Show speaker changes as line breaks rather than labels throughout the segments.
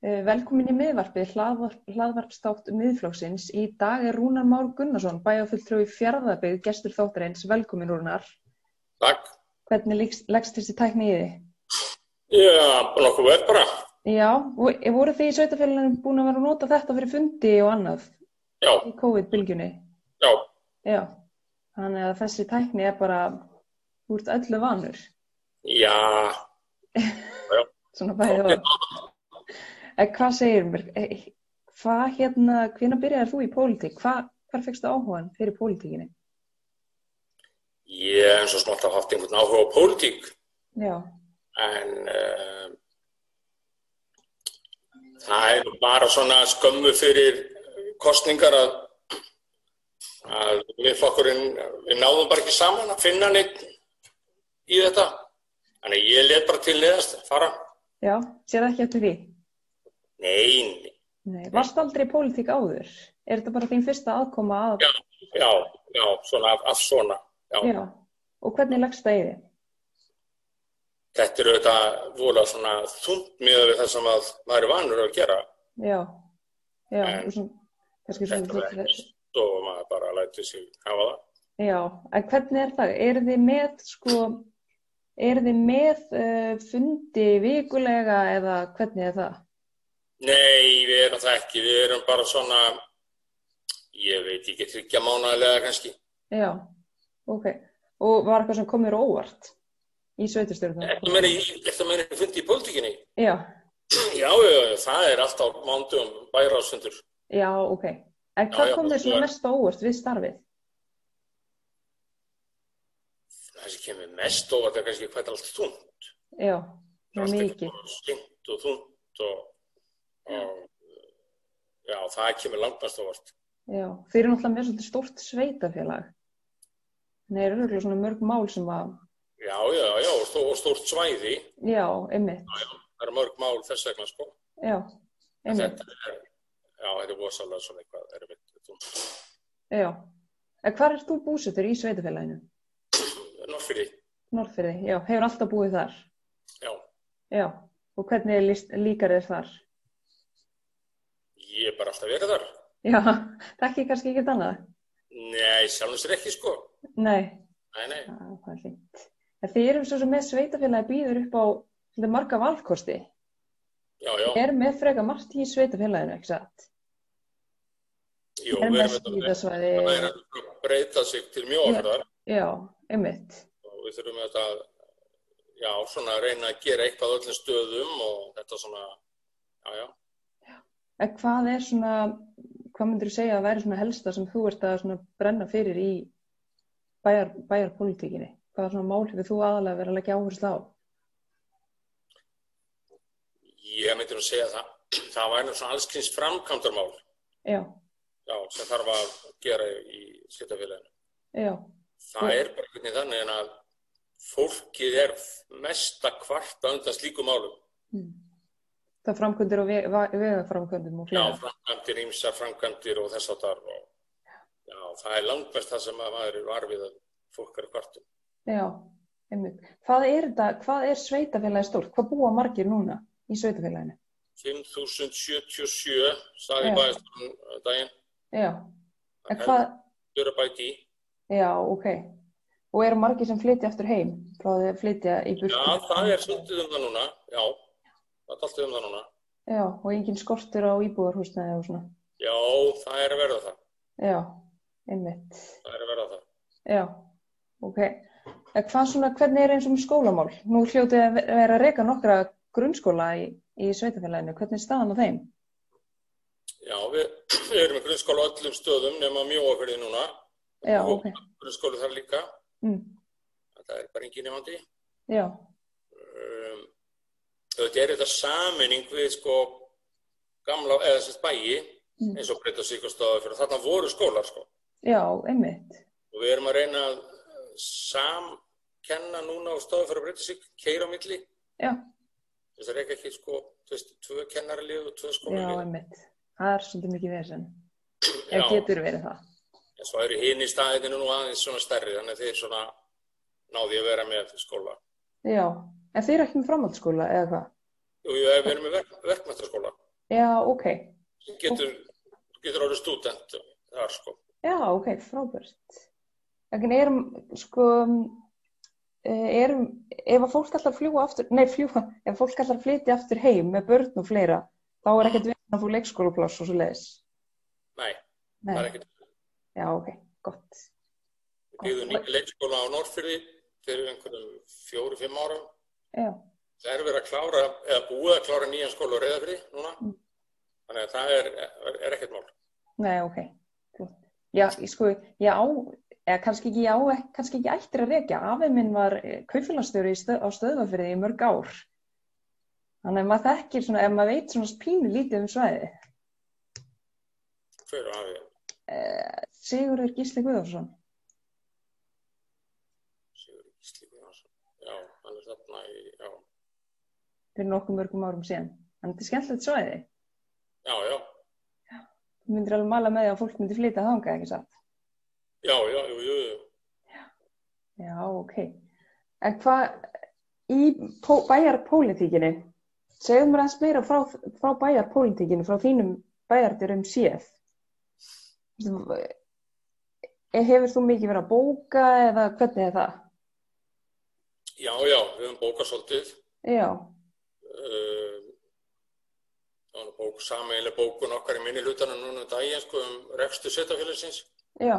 Eh, Velkomin í miðvarpið, hlaðvarp- hlaðvarpsþátt miðflóksins. Í dag er Rúnar Már Gunnarsson, bæjarfulltrúi fjárðabygg, gestur þáttarins. Velkomin Rúnar.
Takk.
Hvernig leggst- leggst þessi tækni í þig?
Já, eh, nokkuð vel bara.
Já, vo- voru þið í sveitafélaginu búin að vera að nota þetta fyrir fundi og annað
Já,
í COVID-bylgjunni?
já,
Já, þannig að þessi tækni er bara úr öllu vanur.
já.
svona bæði og en hvað segir mér eh, hvað hérna, hvenær byrjaði þú í pólitík hvað, hvar fegstu áhugan fyrir pólitíkinni
Ég hef eins og smátt að haft einhvern áhuga á pólitík,
já,
en uh, það er nú bara svona skömmu fyrir kostningar að, að við flokkurinn, við náðum bara ekki saman að finna neitt í þetta. Þannig að ég let bara til neðast fara.
já, sér ekki eftir því
Nei, nei.
Nei. varst aldrei í pólitík áður er þetta bara þín fyrsta aðkoma að
Já. já, já, svona af, af svona, já.
Já. og hvernig leggst það í þig
þetta eru auðvitað vola svona þungt miðað við það sem að maður er vanur að gera
já, já,
En-
og svona kannski
þetta
svona
var ekkert og maður bara lætur sig hafa það
já, en hvernig er það er þið með sko er þið með uh, fundi vikulega eða hvernig er það
nei, við erum það ekki, við erum bara svona ég veit ekki þryggja mánaðilega kannski
Já, ok. Og var eitthvað sem kom mér á óvart í
þetta
sveitarstjórnum?
meina þetta meina ég fundi í pólitíkinni
Já,
já, já, já, það er alltaf mándum bæraðsfundur
já, ok. En
Já,
hvað
já,
kom þér
þú
svona
er-
mest á óvart við starfið?
það sem kemur mest og þetta er kannski hvað þetta er allt þungt
Já,
Það
svona
er allt
mikið.
eitthvað skynt og þungt og, og já, það kemur langt mest ávart
Já, þeir eru náttúrulega með svolítið stórt sveitafélag. Nei, eru örugglega svona mörg mál sem að,
Já, já, já, og, stó, og stórt svæði,
já, einmitt,
það eru mörg mál þess vegna, sko.
já,
En
einmitt,
Þetta er, já, þetta er vosalega svona eitthvað erfitt.
já. En hvar ert þú búsettur í sveitafélaginu?
Norfyrir,
Norðfyrði, já, hefur alltaf búið þar,
já,
já. Og hvernig líst, líkar þér þar?
ég er bara alltaf verið þar.
Já, þekki kannski ekkert annað?
Nei, sjálfum sér ekki, sko.
Nei.
Nei, nei,
Já, það er fint. En þið erum svo sem með sveitafélagi býður upp á svolítið marga valkosti.
já, já,
Er með freka margt í sveitafélaginu, ekki satt?
jú,
Er
við
með
erum þetta
skýðasvæði,
það er að sko breyta sig til mjög áfyrðar
já, einmitt.
og við þurfum þetta að, já, svona að reyna að gera eitthvað á öllum stöðum og þetta svona, já, já.
En hvað er svona, hvað myndir þú segja að væri svona helsta sem þú ert að svona brenna fyrir í bæjar, bæjarpolítikinni? Hvaða svona mál hefur þú aðalega verið að leggja áherslu á?
Ég myndi nú segja það, það væri nú svona allskyns framkvæmdarmál.
Já,
já, sem þarf að gera í sveitarfélaginu.
já,
Það
Já.
er bara hvernig þannig en að fólkið er mest að kvarta undan slíkum málum.
mm. það framkvæmdir og ve- va- vegaframkvæmdum og
Já,
fleira.
framkvæmdir, ýmsar framkvæmdir og þess að þar. Og, já, það er langt best það sem að maður er varfið að fólk er að kvarta. um.
Já, einmitt. Hvað er þetta, hvað er sveitafélagi stórt? Hvað búa margir núna í sveitafélaginu?
5.077 sagði
Já.
bæðistunum daginn.
Já, en hvað,
Þau eru bæti í.
já, ok. Og eru margir sem flytja aftur heim frá því að flytja í burtu?
Já, það er svolítið um það núna. Já, það er alltaf um það núna.
Já, og engin skortur á íbúðarhúsnaði og svona.
Já, það er að verða það.
Já, einmitt.
Það er að verða það.
Já, ok. En hvað svona, hvernig er eins og með skólamál? Nú hljótið að ver- vera að reka nokkra grunnskóla í, í sveitafélaginu. Hvernig er staðan á þeim?
Já, við, við erum í grunnskóla á öllum stöðum nema mjóafyrði núna.
Já,
Og
ok.
Grunnskóla þar líka.
Mm.
Það er bara engin nefandi.
Já,
Um, þetta er þetta saminning við sko gamla, eða sérst bæi,
mm.
eins og breyta síkastöðu fyrir þarna voru skólar sko.
já, einmitt.
Og við erum að reyna að samkenna núna á stöðu fyrir að breyta sík, keira á milli.
Já.
Þess að reyka ekki sko, þú veist, tvö kennarlið og tvö
Já,
skólarlið.
einmitt. Það er svolítið mikið vesen.
Já.
Það getur verið það.
En svo eru hinn í staðinu nú aðeins svona stærri, þannig að þeir svona náði að vera með skóla.
Já. En þið eru ekki með framhaldsskóla eða hvað?
Jú, jú, við erum með verk, verkmættaskóla.
Já, ok.
Þú getur, þú getur orðið stúdent þar sko.
Já, ok, frábært. Þannig erum, sko, eh, erum, ef að fólk ætlar að fljúa aftur, nei, fljúa, ef fólk ætlar að flytja aftur heim með börn og fleira, þá er ekkert vinn að fá leikskólapláss og svo leiðis.
Nei,
Nei,
það er ekkert.
já, ok, gott.
Við byggðum nýja leikskóla á Norrfyrði fyrir einhverjum fjóru-fimm ára.
Já,
Það er verið að klára, eða búið að klára nýjan skóla á Reyðafyrði núna.
Mm.
Þannig að það er, er, er ekkert mál.
nei, ok, gott. Já, ég sko, ég á, eða kannski ekki, ég á, ek- kannski ekki ættir að rekja. Afið minn var eh, kaupfélagsstjóri stöð, á stöðvafyrði í mörg ár. Þannig að maður þekkir svona, ef maður veit svona pínu lítið um svæðið.
Hver var við?
Eh, Sigurður Gísli Guðjónsson
Sigurður Gísli Guðjónsson. Já, hann er þarna í, já,
fyrir nokkuð mörgum árum síðan. En þetta er skemmtilegt svæði.
já, já,
Þú myndir alveg mala með því að fólk myndir flytja þangað, ekki satt?
já, já, jú, jú, jú.
Já, ok. En hvað í pó- bæjarpólitíkinni, segðu mér aðeins meira frá, frá bæjarpólitíkinni, frá þínum bæjardyrum séð. Þú- eh, Hefur þú mikið verið að bóka eða hvernig er það?
Já, já, við höfum bókað svolítið.
Já,
Um, Það var bók, sameiginlega bókun okkar í minni hlutanum núna um daginn, sko, um rekstu setafélagsins.
já,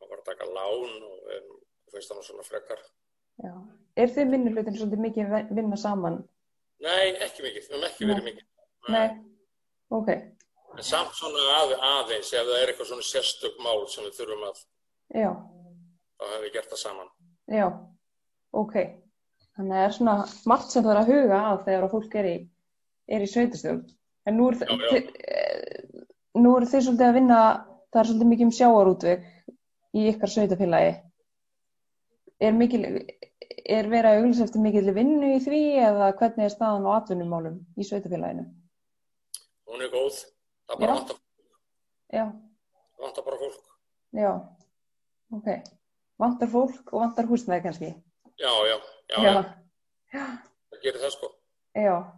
Það var að taka lán og um, finnst það nú svona frekar.
já. Er þið minni hlutin svolítið mikið að vinna saman?
Nei, ekki mikið, við höfum ekki verið mikið.
Nei, ok,
En samt svona að, aðeins, ef það er eitthvað svona sérstök mál sem við þurfum að,
já.
þá hefum við gert það saman.
Já, ok. Þannig að það er svona margt sem það er að huga að þegar að fólk er í, er í sveitastjórn. En nú eru
Já, já.
þið, eh, nú eru þið svolítið að vinna, það er svolítið mikið um sjáarútveg í ykkar sveitafélagi. Er, mikil, er verið að auglýsa eftir mikil vinnu í því eða hvernig er staðan á atvinnumálum í sveitafélaginu?
Hún er góð, það bara
Já.
vantar,
Já,
vantar bara fólk.
já, ok. Vantar fólk og vantar húsnæði kannski.
Já, já, já, já.
já,
það gerir það sko.
já,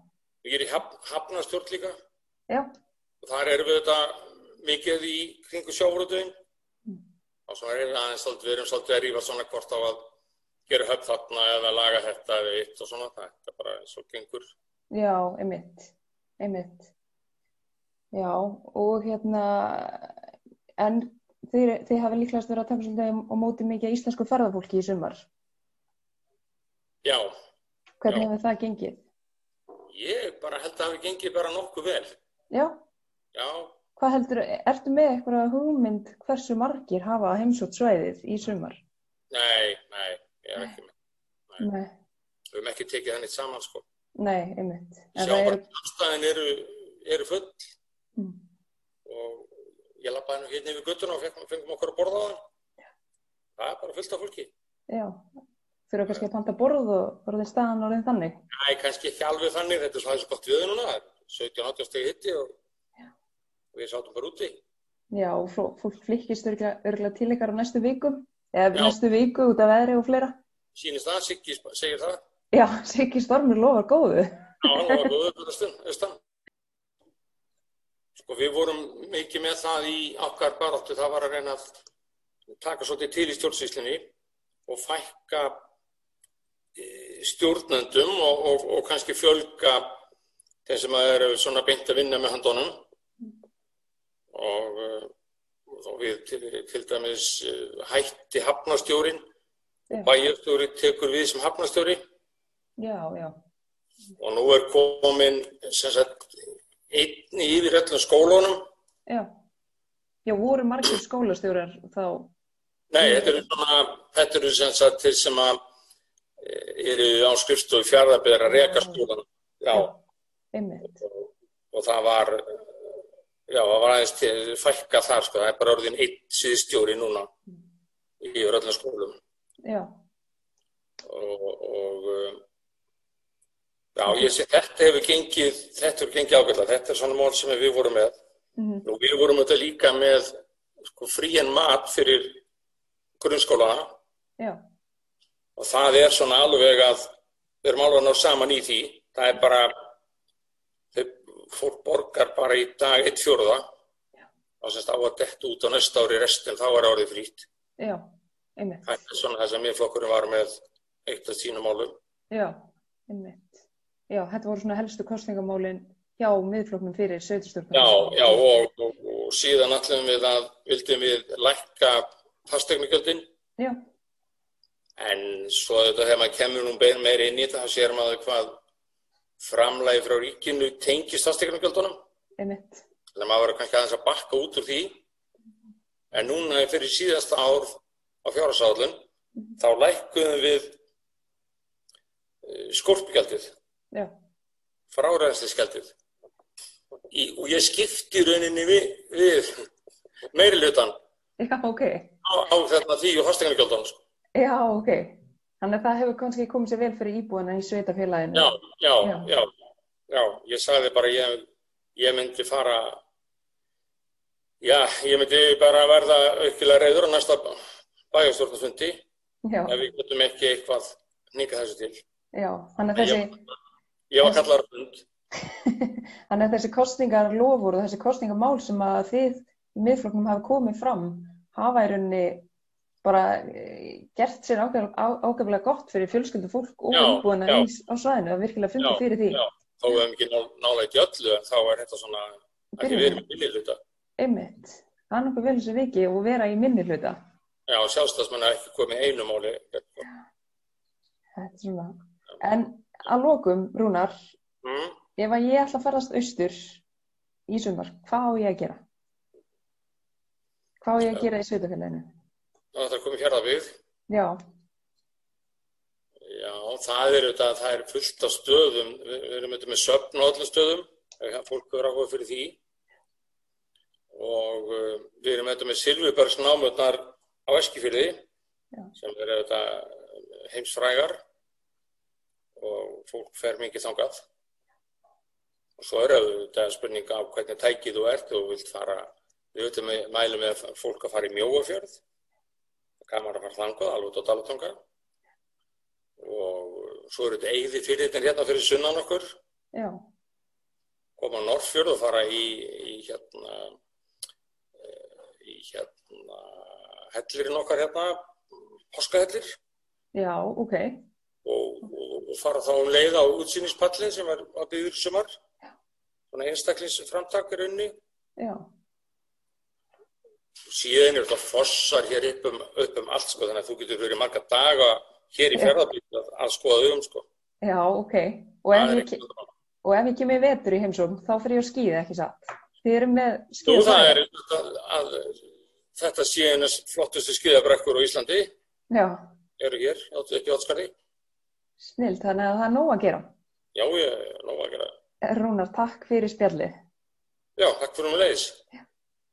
Við gerum haf, hafnastjórn líka
já,
og þar erum við þetta mikið í kringu sjáurútuðin
Mm.
og svo er aðeins svolítið, við erum svolítið að rífa svona hvort á að gera höfn þarna eða laga þetta eða eitt og svona, þetta er bara eins og gengur.
Já, einmitt, einmitt. Já, og hérna, en þið, þið hafi líklegast verið að taka svolítið á móti mikið af íslensku ferðafólki í sumar.
Já,
Hvernig
Já.
hefur það gengið?
ég bara held að það hafi gengið bara nokkuð vel.
Já,
Já,
hvað heldur, ertu með eitthvað hugmynd hversu margir hafa heimsótt svæðið í sumar?
nei, nei, ég er ekki með.
Nei,
Við höfum ekki tekið þannig saman sko.
nei, einmitt. En það eru,
Sjávarstæðin eru, eru full
Mm,
og ég lappaði nú hérna yfir guttuna og fengum, fengum okkur að borða á það. Það er bara fullt af fólki.
já, þurfa kannski að panta borð og orðin staðan orðin þannig.
Nei, kannski ekki alveg þannig, þetta er svona þessi gott viður núna, 17-18 stegi hitti og, og við sátum bara úti.
Já, og fló- fólk flykkist örgulega til ykkar á næstu vikum, eða
Já.
næstu viku út af veðri og fleira.
Sýnist það, Siggi sp- segir það,
Já, Siggi Stormur lofar góðu.
Já, hann var góður fyrir austan- austan. Sko, við vorum mikið með það í okkar baráttu, það var að reyna að taka svolítið til í stjórnsýslinni og fækka eh, stjórnendum og, og, og kannski fjölga þeim sem að eru svona beint að vinna með handónum og, eh, og við til, til dæmis eh, hætti hafnastjórin
Já.
og bæjarstjóri tekur við sem hafnastjóri
Já, já,
og nú er komin sem sagt einn í yfir öllum skólunum
já. Já, voru margir skólastjórar þá.
nei, þetta eru svona þetta eru sem sagt þeir sem að e, eru á skrifstofu fjárðabæðar að reka skólanum já,
Einmitt.
og það var já, það var aðeins til fækka þar, sko, það er bara orðin einn síðstjóri núna yfir öllum skólum
Já,
og, og um, já, ég sé þetta hefur gengið, þetta hefur gengið ágætlega þetta er svona mál sem við vorum með
mhm,
Nú, við vorum auðvitað líka með sko, frían mat fyrir grunnskólana
já,
og það er svona alveg að við erum alveg að ná saman í því. Það er bara, þau, fólk borgar reyndar bara í dag 1 fjórða þá semst á að detta út á næsta ári restin þá er árið frýtt
já, einmitt,
það er svona það sem miðflokkurinn var með eitt af sínum málum
já, einmitt. Já, þetta voru svona helstu kostningamálin hjá miðfloknum fyrir sveiturstjórnum.
já, já og, og, og síðan allum við að vildum við lækka fastegnugjöldin
Já,
en svo þetta þegar maður kemur nú bein- meira inn í þetta þá sér maður hvað framlægi frá ríkinu tengist fastegnugjöldunum
einmitt,
þannig að maður verður kannski aðeins að bakka út úr því en núna fyrir síðasta ár á fjárasáðlun þá lækkuðum við eh, skorpgjaldið
já,
fráræðslisgjaldið í, og ég skipti í rauninni við, við meiri hlutan á,
já, ok,
á þetta því og fastegnargjaldan sko.
já, ok. Þannig að það hefur kannski komið sér vel fyrir íbúana í sveitafélaginu.
já, já,
Já.
já, já ég sagði bara ég, ég myndi fara já, ég myndi bara verða aukilega reyður á næsta bæjarstjórnafundi
Já,
ef við getum ekki eitthvað nýka þessu til
já, þannig að þessi...
ég var kallar hund
Þannig að þessi kostningar lofur og þessi kostningamál sem að þið í miðfloknum hafa komið fram hafa í rauninni bara eh, gert sér ágæflega gott fyrir fjölskyldu fólk og
Já,
umbúðina
já.
á svæðinu að virkilega fundi
Já,
fyrir því.
já. þá hefum við ekki ná, nálega í öllu en þá er þetta svona ekki verið með minni hluta
Einmitt. Það er nokkuð vel þessu viki og vera í minni hluta.
já, sjálfstæðsmenn er ekki komið einu máli
Þetta er svona. En að lokum, Rúnar,
mm?
ef að ég ætla að ferðast austur í sumar, hvað á ég að gera? Hvað á ég að gera í sveitafélaginu?
Þá þetta er komið hérna við
Já,
Já, það er auðvitað, það er fullt af stöðum, við, við erum auðvitað með söfn á öllum stöðum, ef það- fólk er áhuga fyrir því og uh, við erum auðvitað með Silvibergs námötnar á Eskifyrði
Já.
sem eru auðvitað eh, heimsfrægar og fólk fer mikið þangað og svo er auðvitað spurninga á hvernig tækið þú ert og vilt fara, við auðvitað með- mælum með að fólk að fara í mjóafjörð, gaman að fara þangað, alveg út á Dalatanga og svo eru þetta eigði fyrirtin hérna fyrir sunnan okkur
já,
koma á Norrfjörð og fara í, í hérna eh, í hérna hellirinn okkar hérna páskahellir
já, ok.
og, og, og fara þá um leið á útsýningspalli sem er að byggður sumar svona einstaklingsframtak er unni
Já,
og síðan eru þetta fossar hér upp um, upp um allt sko þannig að þú getur verið marga daga hér í fjörðarbygg að, að skoða um sko
já, ok. Og ef,
Það er
ég,
eitthvað-
og ef ég kemur í vetur í heimsókn, þá fer ég á skíði, ekki satt? Þið eru með
Jú,
skíðasvæði?
það er að, að þetta sé hennar flottustu skíðabrekkur á Íslandi,
Já,
eru hér, áttu ekki átskarði.
snill, þannig að það er nóg að gera.
Já, ég er nóg að gera.
Rúnar, takk fyrir spjallið.
Já, takk fyrir mig leiðis.
Já.